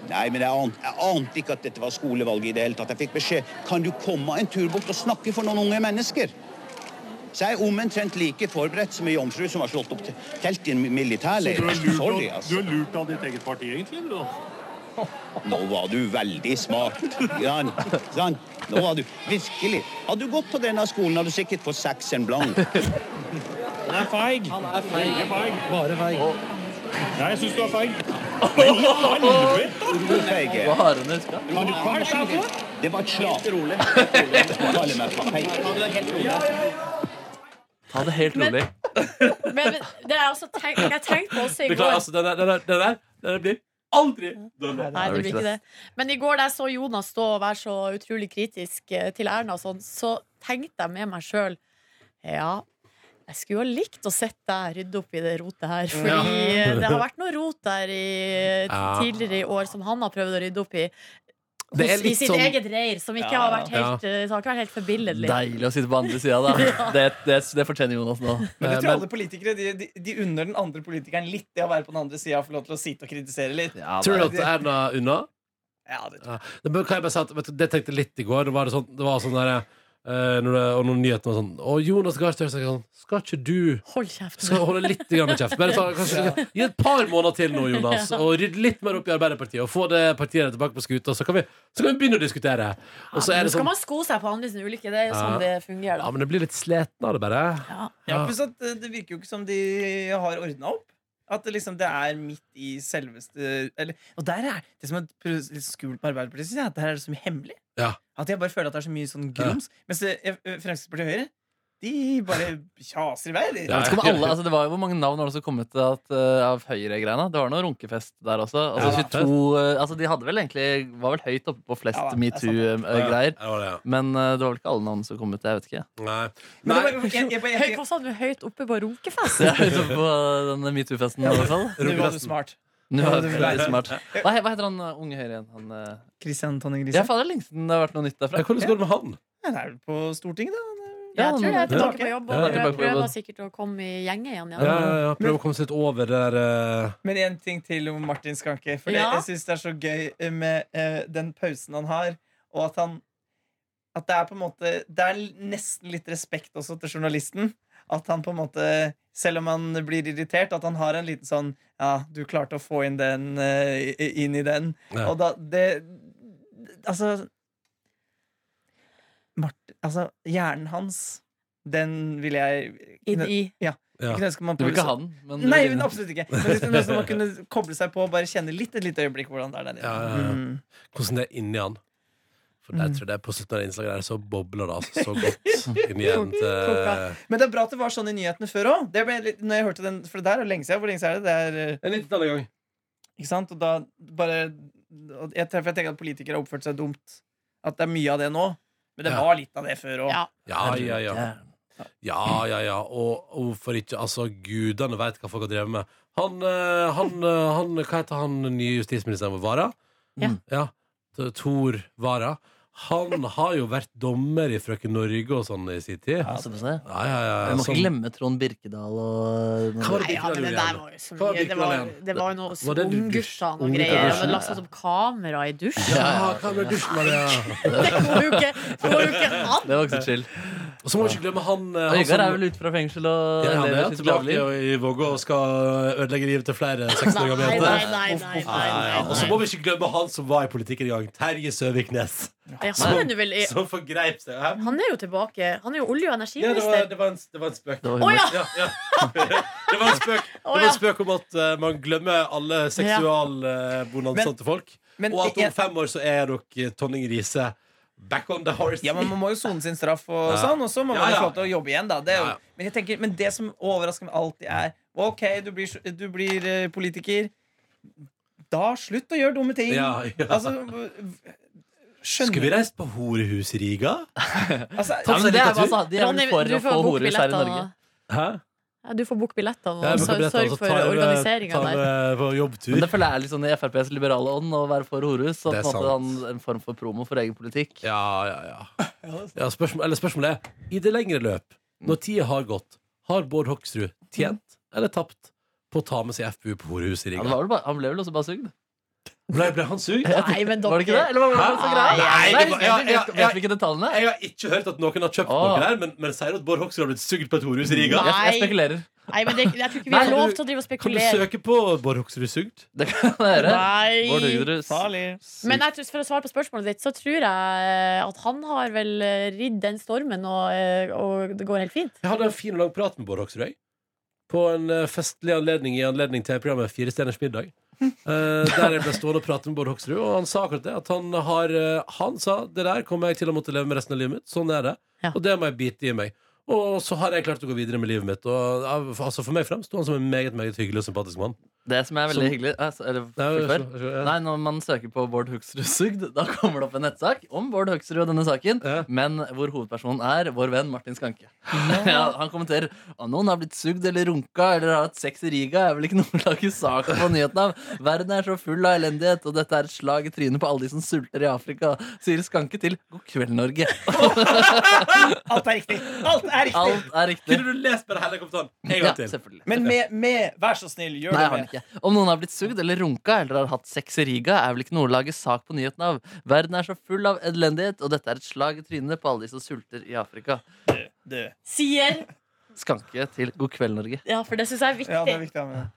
Speaker 10: Nei, men jeg ante, jeg ante ikke at dette var skolevalget i det hele tatt. Jeg fikk beskjed kan du komme en tur bort og snakke for noen unge mennesker. Så jeg er omtrent like forberedt som ei jomfru som har slått opp te- telt i en militærleir. Sorry, altså.
Speaker 11: lurt av ditt eget parti, egentlig? eller da?
Speaker 10: Nå var du veldig smart. Jan. Sant? Nå var du virkelig. Hadde du gått på denne skolen, hadde du sikkert fått sekseren blank.
Speaker 11: Han er feig. Han er feig. feig.
Speaker 7: Bare vei.
Speaker 11: Nei, jeg syns du er feig.
Speaker 10: Feige.
Speaker 3: Hva har han huska?
Speaker 10: Det var et slag. Kaller meg for feig.
Speaker 3: Ta det helt rolig.
Speaker 4: Men, men det er altså tenk, jeg tenkte også i
Speaker 2: Beklager,
Speaker 4: går
Speaker 2: altså. Det der, det der, det der, det der blir aldri dømt.
Speaker 4: Nei, det blir ikke det. Men i går da jeg så Jonas stå og være så utrolig kritisk eh, til Erna, og sånn, så tenkte jeg med meg sjøl Ja, jeg skulle jo ha likt å sett deg rydde opp i det rotet her. Fordi eh, det har vært noe rot der i,
Speaker 2: Ja.
Speaker 4: tidligere i år som han har prøvd å rydde opp i.
Speaker 2: Det er
Speaker 4: Hos, I
Speaker 2: litt
Speaker 4: sitt
Speaker 2: sånn-
Speaker 4: eget reir, som ikke har vært helt, eh, det har ikke vært helt forbilledlig.
Speaker 3: Deilig å sitte på andre sida, da. Det, det, det fortjener Jonas nå.
Speaker 5: Men
Speaker 2: Eh,
Speaker 5: jeg tror
Speaker 2: men-
Speaker 5: alle politikere de, de, de unner den andre politikeren litt det å være på den andre sida og få lov til å sitte og kritisere litt.
Speaker 3: Ja,
Speaker 2: Tror du
Speaker 3: da.
Speaker 2: at Erna er unna?
Speaker 5: Ja, det tror jeg.
Speaker 2: Ja. Det, bør- kan jeg bare si at, vet du, det tenkte jeg litt i går. Det var sånn, det var sånn der, eh, når det, og noen nyheter var sånn Og Jonas Gahr Støre sa sånn Skal ikke du
Speaker 4: Hold kjeft.
Speaker 2: skal holde litt grann kjeft? Bare ta, kanskje, gi et par måneder til nå, Jonas, og rydde litt mer opp i Arbeiderpartiet. Og få det partiet tilbake på skuta, så kan vi, så kan vi begynne å diskutere. Og så
Speaker 4: Ja,
Speaker 2: er
Speaker 4: nå
Speaker 2: det
Speaker 4: skal
Speaker 2: sånn
Speaker 4: man sko seg på andres ulykke. Det er jo
Speaker 2: Ja.
Speaker 4: sånn det fungerer.
Speaker 2: Ja,
Speaker 4: Da.
Speaker 2: men det blir litt sliten av det, bare.
Speaker 4: Ja.
Speaker 5: Ja, pluss at eh, det virker jo ikke som de har ordna opp. At det liksom det er midt i selveste eller, Og der er det som er pr- litt skummelt med Arbeiderpartiet, synes jeg, at der er det så mye hemmelig.
Speaker 2: Ja.
Speaker 5: At jeg bare føler at det er så mye sånn grums. Mens eh, F- Fremskrittspartiet og Høyre, de bare kjaser i vei. De.
Speaker 2: Ja.
Speaker 3: Jeg vet ikke om alle, altså det var jo Hvor mange navn har det også kommet at, eh, av Høyre-greiene? Det var noe runkefest der også. Altså, 22, eh, altså De hadde vel egentlig var vel høyt oppe på flest
Speaker 5: Ja, det er
Speaker 3: metoo-greier.
Speaker 2: Ja, det var det, ja.
Speaker 3: Men eh, det var vel ikke alle navn som kom ut. Jeg vet ikke.
Speaker 2: Nei.
Speaker 5: Men det var-
Speaker 2: Nei.
Speaker 5: jeg- jeg- jeg-
Speaker 4: Høy,
Speaker 5: jeg-
Speaker 4: hva sa du? Høyt oppe på runkefest?
Speaker 3: Det er høyt oppe på denne metoo-festen i hvert fall.
Speaker 5: Nå var du smart.
Speaker 3: Nå er det veldig smart. Hva, he- hva heter han eh, unge Høyre igjen? Han, eh,
Speaker 5: Christian Tonning Grise.
Speaker 3: ja, fader, det er lenge siden det har vært noe nytt derfra.
Speaker 2: Ja, Hvordan går det med han?
Speaker 5: Han er vel på Stortinget, da.
Speaker 3: Ja,
Speaker 4: jeg tror jeg er
Speaker 3: ja.
Speaker 4: tilbake på jobb
Speaker 2: Ja,
Speaker 4: og
Speaker 3: tilbake på jobb.
Speaker 4: prøver sikkert å komme i gjenge igjen.
Speaker 2: Ja,
Speaker 4: Ja.
Speaker 2: ja, ja. Prøv å komme seg litt over det der eh,
Speaker 5: Men én ting til om Martin Skanke. For det-
Speaker 4: Ja.
Speaker 5: jeg syns det er så gøy eh, med eh, den pausen han har, og at han At det er på en måte Det er nesten litt respekt også til journalisten. At han på en måte selv om han blir irritert, at han har en liten sånn Ja, du klarte å få inn den eh, i- inn i den.
Speaker 2: Ja.
Speaker 5: Og da det Altså Martin, altså, hjernen hans, den vil jeg
Speaker 4: Inn i
Speaker 2: Ja.
Speaker 5: kunne ønske man
Speaker 3: Du vil ikke
Speaker 5: produserte-
Speaker 3: ha den, men du
Speaker 5: Nei,
Speaker 3: vil-
Speaker 5: men absolutt ikke. Men hvis det er noe som man kunne koble seg på og bare kjenne litt et lite øyeblikk hvordan det er der nede.
Speaker 2: Ja, ja, ja.
Speaker 5: Mm.
Speaker 2: hvordan det er inni han. For der tror jeg det er på slutten av det innslaget der så bobler det altså så godt inni en eh, til
Speaker 5: Men det er bra at det var sånn i nyhetene før òg. Når jeg hørte den, for det der er lenge siden. Hvor lenge siden er det? det er,
Speaker 2: En liten gang.
Speaker 5: eh, ikke sant? Og da bare og jeg, tenker- for jeg tenker at politikere har oppført seg dumt. At det er mye av det nå. Men det
Speaker 2: Ja.
Speaker 5: var litt av det før òg.
Speaker 4: Ja.
Speaker 2: Ja, ja, ja. Ja, ja, ja. Og hvorfor ikke? Altså, gudene veit hva folk har drevet med. Han, eh, han, eh, Mm. han Hva heter han nye justisministeren vår? Vara?
Speaker 4: Ja.
Speaker 2: ja. T- Tor Vara. Han har jo vært dommer i Frøken Norge og sånn i sin tid.
Speaker 3: Ja, såpass det.
Speaker 2: Ja, ja, ja,
Speaker 3: Vi må ikke
Speaker 2: sånn-
Speaker 3: glemme Trond Birkedal og
Speaker 2: Hva var det
Speaker 4: Nei, ja, men det der var jo så
Speaker 2: Hva var
Speaker 4: mye.
Speaker 2: det
Speaker 4: Det var,
Speaker 2: Birkeland?
Speaker 4: det var jo noe
Speaker 2: Var det du-
Speaker 4: ungdusjer og noe
Speaker 2: ungdusjer?
Speaker 4: greier. Han hadde lagt seg som kamera i dusjen.
Speaker 2: Ja, kamera i dusjen var det, ja.
Speaker 4: det går jo ikke, det går jo ikke an!
Speaker 3: Det var ikke så chill.
Speaker 2: Og så må vi ikke glemme han eh, han
Speaker 3: Øygard
Speaker 2: som-
Speaker 3: er vel ute fra fengsel og
Speaker 2: Ja, han
Speaker 3: lever
Speaker 2: er
Speaker 3: sitt glade
Speaker 2: tilbake
Speaker 3: liv.
Speaker 2: i Vågå og skal ødelegge livet til flere 16 år gamle
Speaker 4: Nei,
Speaker 2: jenter.
Speaker 4: nei, nei, nei, nei,
Speaker 2: Ja, ja. Og så må vi ikke glemme han som var i politikken i gang. Terje Søviknes.
Speaker 4: Ja, han, er
Speaker 2: Som,
Speaker 4: jo vel, i-
Speaker 2: som forgreip seg. Hæ?
Speaker 4: han er jo tilbake. Han er jo olje- og
Speaker 2: Ja, det var,
Speaker 4: energiminister.
Speaker 2: det var, en, det var en spøk.
Speaker 4: var humor. Å, ja!
Speaker 2: ja. Det var en spøk, det var en spøk om at eh, man glemmer alle seksualbonanzaene til folk.
Speaker 5: men
Speaker 2: og at om
Speaker 5: jeg-
Speaker 2: fem år så er dere eh, Tonning Riise back on the horse.
Speaker 5: Ja, men Man må jo sone sin straff, og
Speaker 2: Ja.
Speaker 5: sånn Og så må
Speaker 2: Ja,
Speaker 5: man jo
Speaker 2: ja.
Speaker 5: få lov til å jobbe igjen. da det, er jo-
Speaker 2: Ja, ja.
Speaker 5: Men jeg tenker, men det som overrasker meg alltid, er OK, du blir, så- du blir eh, politiker. Da slutt å gjøre dumme ting.
Speaker 2: Ja, ja.
Speaker 5: Altså, skjønner
Speaker 2: Skulle vi reist på horehus i Riga?
Speaker 5: altså,
Speaker 3: Ja, men det er, altså, de er
Speaker 4: Ronny,
Speaker 3: vel for
Speaker 4: du
Speaker 3: å
Speaker 4: får
Speaker 3: få
Speaker 4: booke
Speaker 3: horehus her i
Speaker 4: billetter
Speaker 3: Norge.
Speaker 4: nå.
Speaker 2: Hæ?
Speaker 4: Ja, du får booke billettene
Speaker 2: Ja,
Speaker 4: og
Speaker 2: men
Speaker 4: sor-
Speaker 2: billetter,
Speaker 4: sørg
Speaker 2: altså,
Speaker 4: for
Speaker 2: tar vi-
Speaker 4: organiseringa
Speaker 2: tar
Speaker 4: der.
Speaker 2: vi På jobbtur.
Speaker 3: Men det føler jeg er litt sånn i FrPs liberale ånd å være for horehus. Så
Speaker 2: Det
Speaker 3: på
Speaker 2: er
Speaker 3: en måte han, en form for promo for egen politikk.
Speaker 2: Ja, ja, ja. ja spørsmål, eller spørsmålet er I det lengre løp, når tida har gått, har Bård Hoksrud tjent eller tapt på å ta med seg FPU på horehuset i
Speaker 3: Ja,
Speaker 2: Riga?
Speaker 3: det var vel bare, han ble vel også bare sugd?
Speaker 2: Ble, ble han sugd?
Speaker 4: Nei, men
Speaker 3: Var det ikke det?
Speaker 4: dere
Speaker 3: Eller var det
Speaker 2: Hæ?
Speaker 3: så
Speaker 2: Nei,
Speaker 3: greit?
Speaker 2: det var-
Speaker 3: jeg
Speaker 2: ja,
Speaker 3: husker
Speaker 2: ja,
Speaker 3: ikke-
Speaker 2: ja.
Speaker 3: jeg husker ikke detaljene.
Speaker 2: Jeg har ikke hørt at noen har kjøpt
Speaker 3: Åh.
Speaker 2: noe der, men, men sier du at Bård Hoksrud har blitt sugd på et horehus i Riga?
Speaker 3: Jeg, jeg
Speaker 4: Nei.
Speaker 3: spekulerer.
Speaker 4: Nei, men det, jeg tror ikke vi
Speaker 3: Nei,
Speaker 4: har lov
Speaker 2: du-
Speaker 4: til å drive og
Speaker 2: Kan du
Speaker 4: spekulere.
Speaker 2: søke på Bård Hoksrud sugd?
Speaker 3: Det kan være. Bård
Speaker 4: Nei!
Speaker 3: Hugdrus.
Speaker 5: Farlig.
Speaker 4: Men jeg tror, for å svare på spørsmålet ditt, så tror jeg at han har vel eh, ridd den stormen, og, eh, og det går helt fint.
Speaker 2: Jeg hadde en fin og lang prat med Bård Hoksrud, jeg. På en eh, festlig anledning i anledning til programmet Fire stjerners middag. Eh, der jeg ble stående og prate med Bård Hoksrud, og han sa akkurat det. At han har eh, Han sa det der kommer jeg til å måtte leve med resten av livet mitt. Sånn er det.
Speaker 4: Ja.
Speaker 2: Og det må jeg bite i meg. Og så har jeg klart å gå videre med livet mitt. Og ja, for- altså, For meg fremsto han som en meget meget hyggelig og sympatisk mann.
Speaker 3: Det som er veldig
Speaker 2: Som-
Speaker 3: hyggelig eh, så- eller,
Speaker 2: Nei,
Speaker 3: fullfør.
Speaker 2: jeg skjønner, jeg skjønner, ja.
Speaker 3: Nei, Når man søker på Bård Hoksrud sugd, da kommer det opp en nettsak om Bård Hoksrud og denne saken,
Speaker 2: Ja.
Speaker 3: men hvor hovedpersonen er vår venn Martin Skanke. Ja, han kommenterer at noen har blitt sugd eller runka eller har hatt sex i Riga. er vel ikke noe å lage sak på nyheten av. Verden er så full av elendighet, og dette er et slag i trynet på alle de som sulter i Afrika, sier Skanke til God kveld, Norge.
Speaker 5: Alt er riktig! Alt er riktig!
Speaker 3: Alt er riktig.
Speaker 2: Kunne du lest med det hele kommentaren en
Speaker 3: Ja,
Speaker 2: gang til?
Speaker 3: selvfølgelig.
Speaker 5: Men med, med Vær så snill, gjør
Speaker 3: Nei, jeg
Speaker 5: det
Speaker 3: har
Speaker 5: med.
Speaker 3: den ikke. Om noen har blitt sugd eller runka eller har hatt sex i Riga, er vel ikke noe å lage sak på nyheten av. Verden er så full av elendighet, og dette er et slag i trynet på alle de som sulter i Afrika.
Speaker 5: Død.
Speaker 4: Sier
Speaker 3: Skanke til God kveld, Norge.
Speaker 4: Ja, for det syns jeg er
Speaker 5: Ja, det er
Speaker 4: viktig.
Speaker 5: viktig å ha med.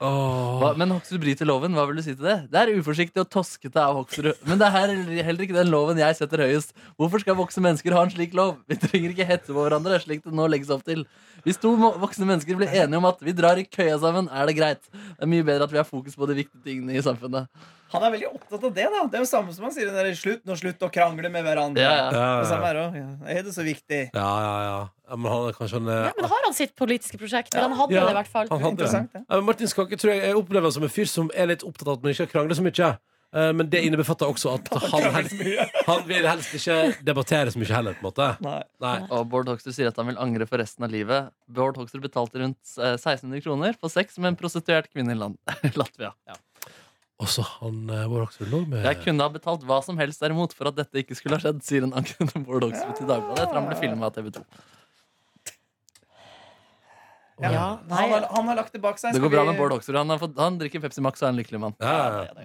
Speaker 3: Hva, men Hoksrud bryter loven. Hva vil du si til det? Det er uforsiktig og toskete av Hoksrud. Men det er heller- heller ikke den loven jeg setter høyest. Hvorfor skal voksne mennesker ha en slik lov? Vi trenger ikke hetse på hverandre, slik det nå legges opp til. Hvis to mo- voksne mennesker blir enige om at vi drar i køya sammen, er det greit. Det er mye bedre at vi har fokus på de viktige tingene i samfunnet.
Speaker 5: Han er veldig opptatt av det. da Det er jo samme som han sier. Den der, slutt nå, slutt å krangle med hverandre.
Speaker 3: Ja, ja.
Speaker 2: Ja,
Speaker 5: Det
Speaker 2: ja,
Speaker 5: samme
Speaker 2: ja.
Speaker 5: her også, ja. Er det så viktig?
Speaker 2: ja, ja, ja. ja men han er kanskje en
Speaker 4: Ja, men har han sitt politiske prosjekt? Men han hadde
Speaker 2: Ja.
Speaker 4: det i hvert fall.
Speaker 2: Han hadde det.
Speaker 5: Interessant, ja.
Speaker 2: Ja, men Martin Skanke tror jeg jeg opplever han som en fyr som er litt opptatt av at man ikke krangler så mye. Eh, Men det innebefatter også at han, helst, han vil helst ikke debattere så mye heller. på en måte
Speaker 5: Nei.
Speaker 2: Nei.
Speaker 3: Og Bård Hoksrud sier at han vil angre for resten av livet. Bård Hoksrud betalte rundt eh, 1600 kroner for sex med en prostituert kvinne i land, Latvia.
Speaker 2: Også han eh, var også lå med
Speaker 3: Jeg kunne ha betalt hva som helst derimot for at dette ikke skulle ha skjedd, sier en angrende Bård Hoksrud til Dagbladet etter han ble filma av TV 2.
Speaker 5: Ja.
Speaker 4: Ja, nei.
Speaker 5: han, har, han har lagt det bak seg.
Speaker 3: Det
Speaker 5: Skal
Speaker 3: går bra
Speaker 5: vi-
Speaker 3: med Bård Hoksrud. Han, har fått, han drikker Pepsi Max og er en lykkelig mann.
Speaker 2: Ja, ja, ja. ja,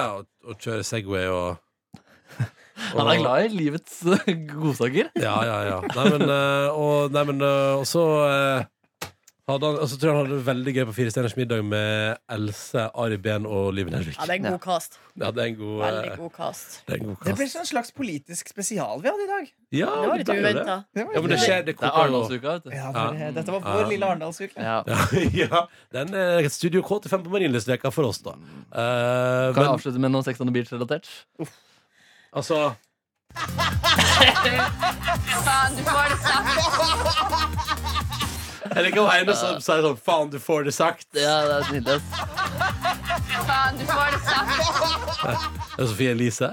Speaker 2: ja og, og kjøre Segway og
Speaker 3: Han er glad i livets eh, godsaker.
Speaker 2: Ja, ja, ja. Nei, men, eh, og, nei, men eh, og så eh, hadde han, og så tror jeg han hadde det veldig gøy på Fire stjerners middag med Else, Ari Behn og Liv Nelvik.
Speaker 4: Ja, det er en god cast.
Speaker 2: Ja, det er en god, eh,
Speaker 4: Veldig god cast.
Speaker 2: Det er en god
Speaker 5: Det ble
Speaker 2: kast.
Speaker 5: sånn slags politisk spesial vi hadde i dag.
Speaker 2: Ja,
Speaker 4: Det var litt
Speaker 2: ble jo det.
Speaker 4: uventa.
Speaker 5: Det var
Speaker 2: Ja, men det
Speaker 5: litt-
Speaker 2: skjer. Det
Speaker 3: Det er
Speaker 2: koker jo.
Speaker 3: Arendalsuka, vet du.
Speaker 5: ja, for,
Speaker 2: Ja.
Speaker 5: eh, Dette var vår
Speaker 2: Ja.
Speaker 5: lille Arendalsuke.
Speaker 3: Ja.
Speaker 2: ja, den er Studio K85 på Marienlystveka for oss, da. Eh,
Speaker 3: Kan jeg
Speaker 2: men
Speaker 3: avslutte med noe Sex on the Beach-relatert?
Speaker 2: altså Jeg liker Heine som sier sånn Faen, du får det sagt.
Speaker 3: Ja, det er nydelig. ass.
Speaker 2: Det er Sofie Elise.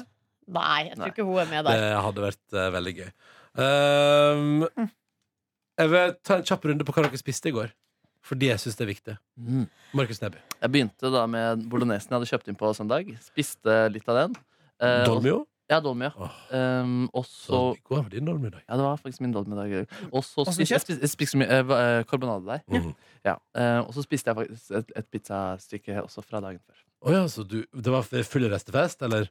Speaker 4: Nei, jeg tror ikke hun er med
Speaker 2: Det
Speaker 4: der.
Speaker 2: hadde vært eh, veldig gøy. Ehm, jeg vil ta en kjapp runde på hva dere spiste i går. Fordi jeg syns det er viktig.
Speaker 3: Mm.
Speaker 2: Markus Neby.
Speaker 3: Jeg begynte da med bolognesen jeg hadde kjøpt inn på søndag. Spiste litt av den. Eh, og-
Speaker 2: Dolmio?
Speaker 3: Ja, dolmia. Um, og så
Speaker 2: Hva var din dolmiddag?
Speaker 3: Ja, det var faktisk min dolmiddag. i dag. Og så
Speaker 2: Åssen
Speaker 3: spiste jeg,
Speaker 2: kjøtt?
Speaker 3: spiste, jeg spiste så mye eh, va- eh, karbonadedeig.
Speaker 2: Mm.
Speaker 3: Ja. Eh, og så spiste jeg faktisk et, et pizzastykke også fra dagen før.
Speaker 2: Å ja, så du, det var full restefest, eller?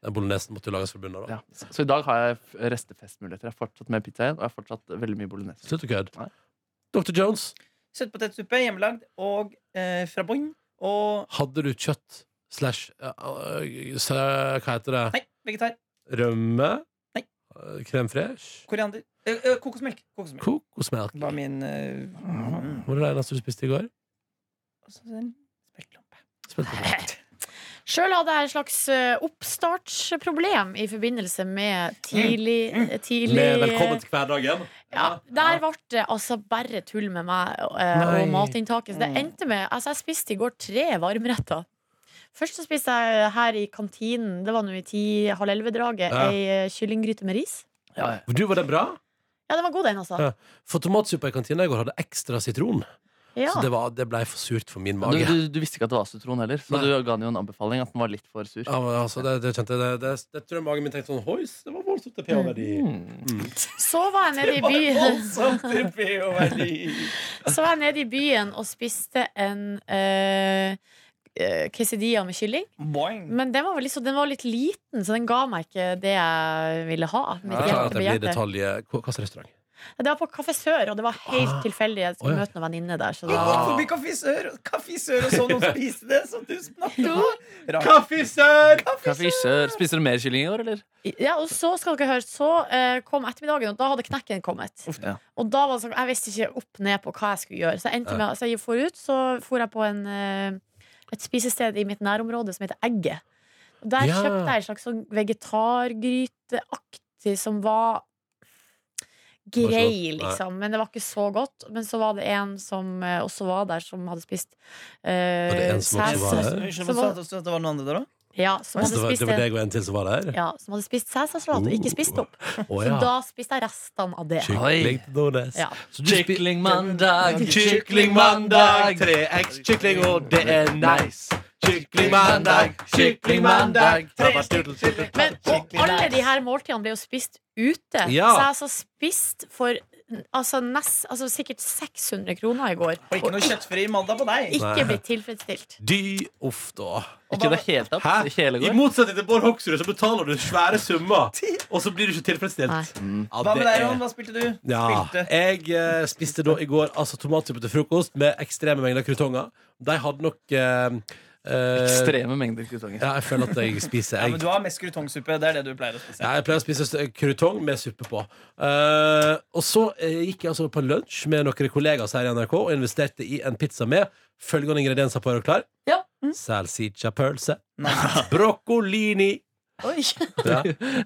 Speaker 2: Den bolognesen måtte jo lages for bunnen av, da.
Speaker 3: Ja. Så, så i dag har jeg f- restefestmuligheter. Jeg har fortsatt med pizza igjen, og jeg har fortsatt veldig mye bolognese.
Speaker 2: Slutt å kødde. Dr. Jones,
Speaker 5: Søtpotetsuppe, hjemmelagd og eh, fra bånn. Og
Speaker 2: hadde du kjøtt slash eh, eh, s- eh, Hva heter det?
Speaker 5: vegetar.
Speaker 2: Rømme? Nei. Krem fresh?
Speaker 5: Koriander. Eh, eh, kokosmelk. kokosmelk.
Speaker 2: Kokosmelk?
Speaker 5: Var min eh,
Speaker 2: Var det det eneste du spiste i går?
Speaker 4: Sjøl hadde jeg et slags eh, oppstartsproblem i forbindelse med tidlig, tidlig
Speaker 2: Mm. Med velkommen til hverdagen.
Speaker 4: ja, Der ble det altså bare tull med meg eh, og
Speaker 2: Nei. Mm.
Speaker 4: matinntaket. Så det endte med Altså, jeg spiste i går tre varmretter. Først så spiste jeg her i kantinen, det var nå i ti-halv elleve-draget,
Speaker 2: Ja.
Speaker 4: ei eh, kyllinggryte med ris.
Speaker 2: Du, var det bra?
Speaker 4: Ja, den var god, den, altså.
Speaker 2: Ja. For tomatsuppa i kantina i går hadde ekstra sitron.
Speaker 4: Ja.
Speaker 2: Så det, var, det ble for surt for min
Speaker 3: Du,
Speaker 2: mage.
Speaker 3: du, du visste ikke at det var sitron heller, så du ga den jo en anbefaling at den var litt for sur.
Speaker 2: Ja, men altså, det, det kjente jeg det, det, det tror jeg magen min tenkte sånn Hois, det var voldsomt til pH-verdi. Mm.
Speaker 4: Så var jeg nede i
Speaker 5: Det var voldsomt
Speaker 4: byen.
Speaker 5: til pH-verdi.
Speaker 4: Så var jeg nede i byen og spiste en eh, eh, quesadilla med kylling.
Speaker 5: Boing.
Speaker 4: Men den var, vel liksom, den var litt liten, så den ga meg ikke det jeg ville ha. mitt
Speaker 2: Jeg klarer at
Speaker 4: hjerte
Speaker 2: jeg blir
Speaker 4: begjærte.
Speaker 2: detalje Hva hva slags restaurant?
Speaker 4: Det var på Kafé Sør, og det var helt tilfeldig. Jeg skulle
Speaker 2: Ah. Å, ja.
Speaker 4: møte noen venninner der. Så
Speaker 5: Vi
Speaker 4: det
Speaker 5: gikk
Speaker 4: var...
Speaker 5: forbi Kafé Sør, og Kafé Sør og så noen spise det. Så du snakket
Speaker 2: Kaffisør!
Speaker 3: Kaffisør. Spiser du mer kylling i år, eller?
Speaker 4: Ja, og så skal dere høre, så eh, kom ettermiddagen, og da hadde knekken kommet.
Speaker 3: Ja.
Speaker 4: Og da var det sånn, jeg visste ikke opp ned på hva jeg skulle gjøre. Så jeg endte med, så jeg for ut, så for jeg på en, eh, et spisested i mitt nærområde som heter Egget. Og der
Speaker 12: Ja.
Speaker 4: kjøpte jeg en slags sånn vegetargryteaktig som var
Speaker 12: så godt.
Speaker 4: grei,
Speaker 12: Nei.
Speaker 4: liksom. Men det var ikke så godt. Men så var det en som eh, også var der, som hadde spist eh,
Speaker 2: Var det en som også var
Speaker 4: sæs-
Speaker 2: der?
Speaker 5: Unnskyld,
Speaker 4: som
Speaker 5: hva
Speaker 4: var-
Speaker 5: sa du at det var noen andre der òg?
Speaker 4: Ja,
Speaker 2: Så
Speaker 4: som hadde
Speaker 2: Altså, det, var,
Speaker 4: spist
Speaker 2: det var
Speaker 4: en-
Speaker 2: deg og en til som var der?
Speaker 4: ja, som hadde spist sæsalat og ikke spist opp.
Speaker 2: Å,
Speaker 4: Så
Speaker 2: ja.
Speaker 4: da spiste jeg restene av det.
Speaker 2: Kykling til Nordnes.
Speaker 4: Ja.
Speaker 3: Kykling mandag, kykling
Speaker 2: mandag. 3x kykling, og det er nice. Kykling mandag, kykling mandag.
Speaker 4: Men, og alle de her måltidene ble jo spist ute.
Speaker 2: Ja.
Speaker 4: Så jeg altså spist for altså, nest, altså, sikkert 600 kroner i går.
Speaker 5: Og ikke noe kjøttfri mandag på deg.
Speaker 4: Ikke blitt tilfredsstilt.
Speaker 2: Dy uff, da.
Speaker 3: Ikke i det hele tatt?
Speaker 2: Hæ?
Speaker 3: Ikke hele
Speaker 2: I
Speaker 3: går?
Speaker 2: motsetning til Bård Hoksrud, så betaler du svære summer, og så blir du ikke tilfredsstilt.
Speaker 3: Mm.
Speaker 2: Ja,
Speaker 5: Hva med
Speaker 2: det
Speaker 5: deg,
Speaker 2: er-
Speaker 5: Ron? Hva spilte du?
Speaker 2: Ja. Jeg eh, spiste da i går altså, tomatsuppe til frokost med ekstreme mengder krutonger. De hadde nok eh, eh,
Speaker 3: Ekstreme mengder krutonger.
Speaker 2: Ja, jeg føler at jeg spiser
Speaker 5: Ja,
Speaker 2: egg.
Speaker 5: men du har mest krutongsuppe. Det er det du pleier å spise.
Speaker 2: Ja, jeg pleier å spise st- krutong med suppe på. Eh, og så eh, gikk jeg altså på lunsj med noen kollegaer her i NRK og investerte i en pizza med følgende ingredienser på Er du klar?
Speaker 4: Ja. Mm.
Speaker 2: Salsiccia-pølse. Broccolini. Ja.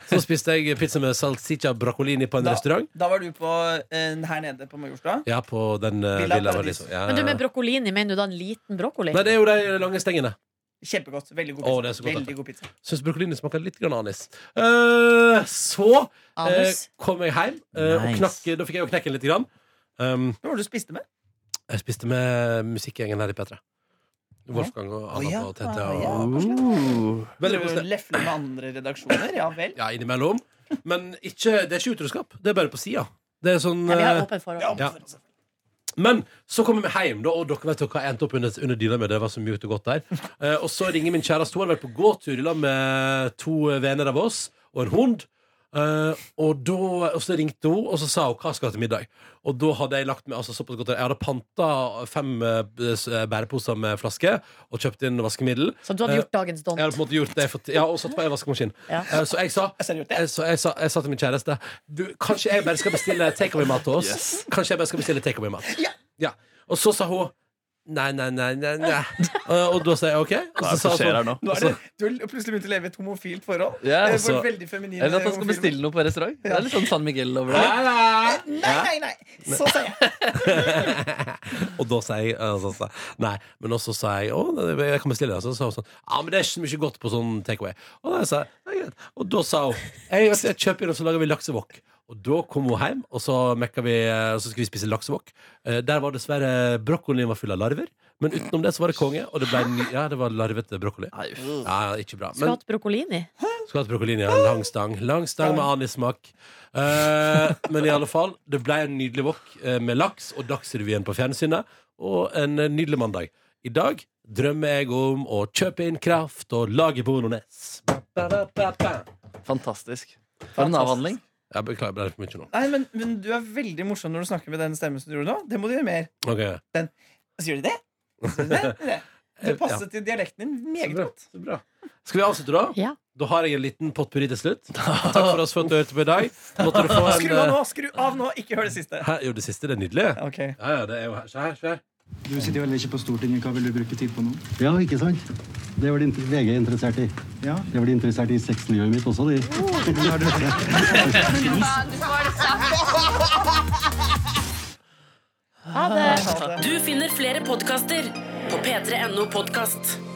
Speaker 2: Så spiste jeg pizza med salsiccia broccolini på en
Speaker 5: Da,
Speaker 2: restaurant.
Speaker 5: da var du på, eh, her nede på Majorstua.
Speaker 2: Ja, på den uh,
Speaker 5: Villa
Speaker 2: Villa
Speaker 5: Paradis.
Speaker 2: Paradiso. Ja,
Speaker 4: Men du,
Speaker 2: ja, ja.
Speaker 4: med brokkolini, mener du da en liten brokkoli?
Speaker 2: Nei, det er jo de lange stengene.
Speaker 5: Kjempegodt. Veldig god
Speaker 2: Å,
Speaker 5: pizza.
Speaker 2: det er så godt,
Speaker 5: Veldig
Speaker 2: dette.
Speaker 5: god pizza.
Speaker 2: Syns broccolini smaker litt grann anis. Eh, så eh,
Speaker 5: Anis.
Speaker 2: kom jeg hjem, eh, og
Speaker 5: Nice.
Speaker 2: knakk, da fikk jeg jo knekken litt. Grann. Um,
Speaker 5: Hva var det du spiste med?
Speaker 2: Jeg spiste med musikkgjengen her i P3. Wolfgang og Anna
Speaker 5: Å, ja.
Speaker 2: og Tete.
Speaker 5: Å, ja,
Speaker 2: Og... uh, Veldig
Speaker 5: Du
Speaker 2: koselig.
Speaker 5: Lefler med andre redaksjoner? Ja vel.
Speaker 2: Ja, innimellom. Men ikke, det er ikke utroskap. Det er bare på sida. Det er sånn
Speaker 4: Ja, vi har
Speaker 2: eh,
Speaker 4: åpent forhold.
Speaker 2: ja. Men så kommer vi hjem, da, og dere vet jo hva jeg endte opp under, under dyna med. Det var så mjukt og godt der. Eh, og så ringer min kjæreste. Hun har vært på gåtur i lag med to venner av oss og en hund. Eh, og, da, og så ringte hun, og så sa hun hva skal jeg ha til middag. Og da hadde jeg lagt med altså, såpass godt Jeg hadde panta fem eh, s- eh, bæreposer med flaske og kjøpt inn vaskemiddel.
Speaker 4: Så du hadde gjort dagens dont?
Speaker 2: Jeg hadde på en måte gjort det jeg fått- Ja, og satt på en vaskemaskin. Eh, Så jeg sa, jeg, så jeg, sa, jeg sa til min kjæreste du, Kanskje jeg bare skal bestille takeaway-mat til oss?
Speaker 13: Yes.
Speaker 2: Kanskje jeg bare skal bestille takeaway-mat? Ja. Og så sa hun Nei, nei, nei, nei, nei. Eh, Og da sa jeg OK. Og
Speaker 3: Hva er
Speaker 2: så
Speaker 3: det
Speaker 2: sa
Speaker 3: som skjer her
Speaker 2: hun
Speaker 3: nå?
Speaker 5: Nå er det, du har plutselig begynt å leve i et homofilt forhold.
Speaker 3: Ja,
Speaker 5: Eh,
Speaker 3: altså-
Speaker 5: for veldig feminin
Speaker 3: Eller at han skal
Speaker 5: homofil-
Speaker 3: bestille noe på restaurant. Det er litt sånn San Miguel over det.
Speaker 2: Nei,
Speaker 5: Nei, nei, nei. Så sa jeg.
Speaker 2: Og da sa jeg eh, så sa, jeg, Nei, men også sa jeg Å, nei, jeg kan bestille det Så sa hun sånn Ja, men det er ikke så mye godt på sånn takeaway Og da sa jeg «Ja, greit Og da sa hun Jeg, jeg, jeg kjøper inn og så lager vi laksevokk Og da kom hun hjem Og så mekka vi eh, Og så skulle vi spise laksevokk Eh, Der var dessverre Brokkolien var full av larver Men utenom det så var det konge Og det ble ny Ja, det var larvete brokkoli Ja, ja, ikke bra
Speaker 4: Skulle
Speaker 2: Men
Speaker 4: hatt brokkolini.
Speaker 2: Skattebrokolini er en lang stang. Lang stang med anissmak. Eh, men i alle fall, det ble en nydelig wok eh, med laks og Dagsrevyen på fjernsynet. Og en eh, nydelig mandag. I dag drømmer jeg om å kjøpe inn kraft og lage bolognese.
Speaker 14: Fantastisk. For en avhandling.
Speaker 2: Jeg beklager, ble det for mye nå?
Speaker 5: Nei, men, men du er veldig morsom når du snakker med den stemmen som du gjorde nå. Det må du gjøre mer.
Speaker 2: Ok.
Speaker 5: Den, så gjør du det? Så gjør du det? det? Det passet til dialekten din meget godt.
Speaker 2: Skal vi avslutte, da? Da har jeg en liten potpurri til slutt. Takk for oss for at du hørte på i dag. Måtte du få en
Speaker 5: Skru av nå! Skru av nå! Ikke hør det siste.
Speaker 2: eh, Her, jo, det siste. Det er nydelig. Ja, ja, det er jo her. Se her, se her.
Speaker 15: Du sitter vel ikke på Stortinget, hva vil du bruke tid på nå?
Speaker 7: Ja, ikke sant? Det var det inter- VG interessert i.
Speaker 15: Ja.
Speaker 7: Det var de interessert i sexlivet mitt også, de.
Speaker 3: Du finner flere podkaster på p3.no podkast.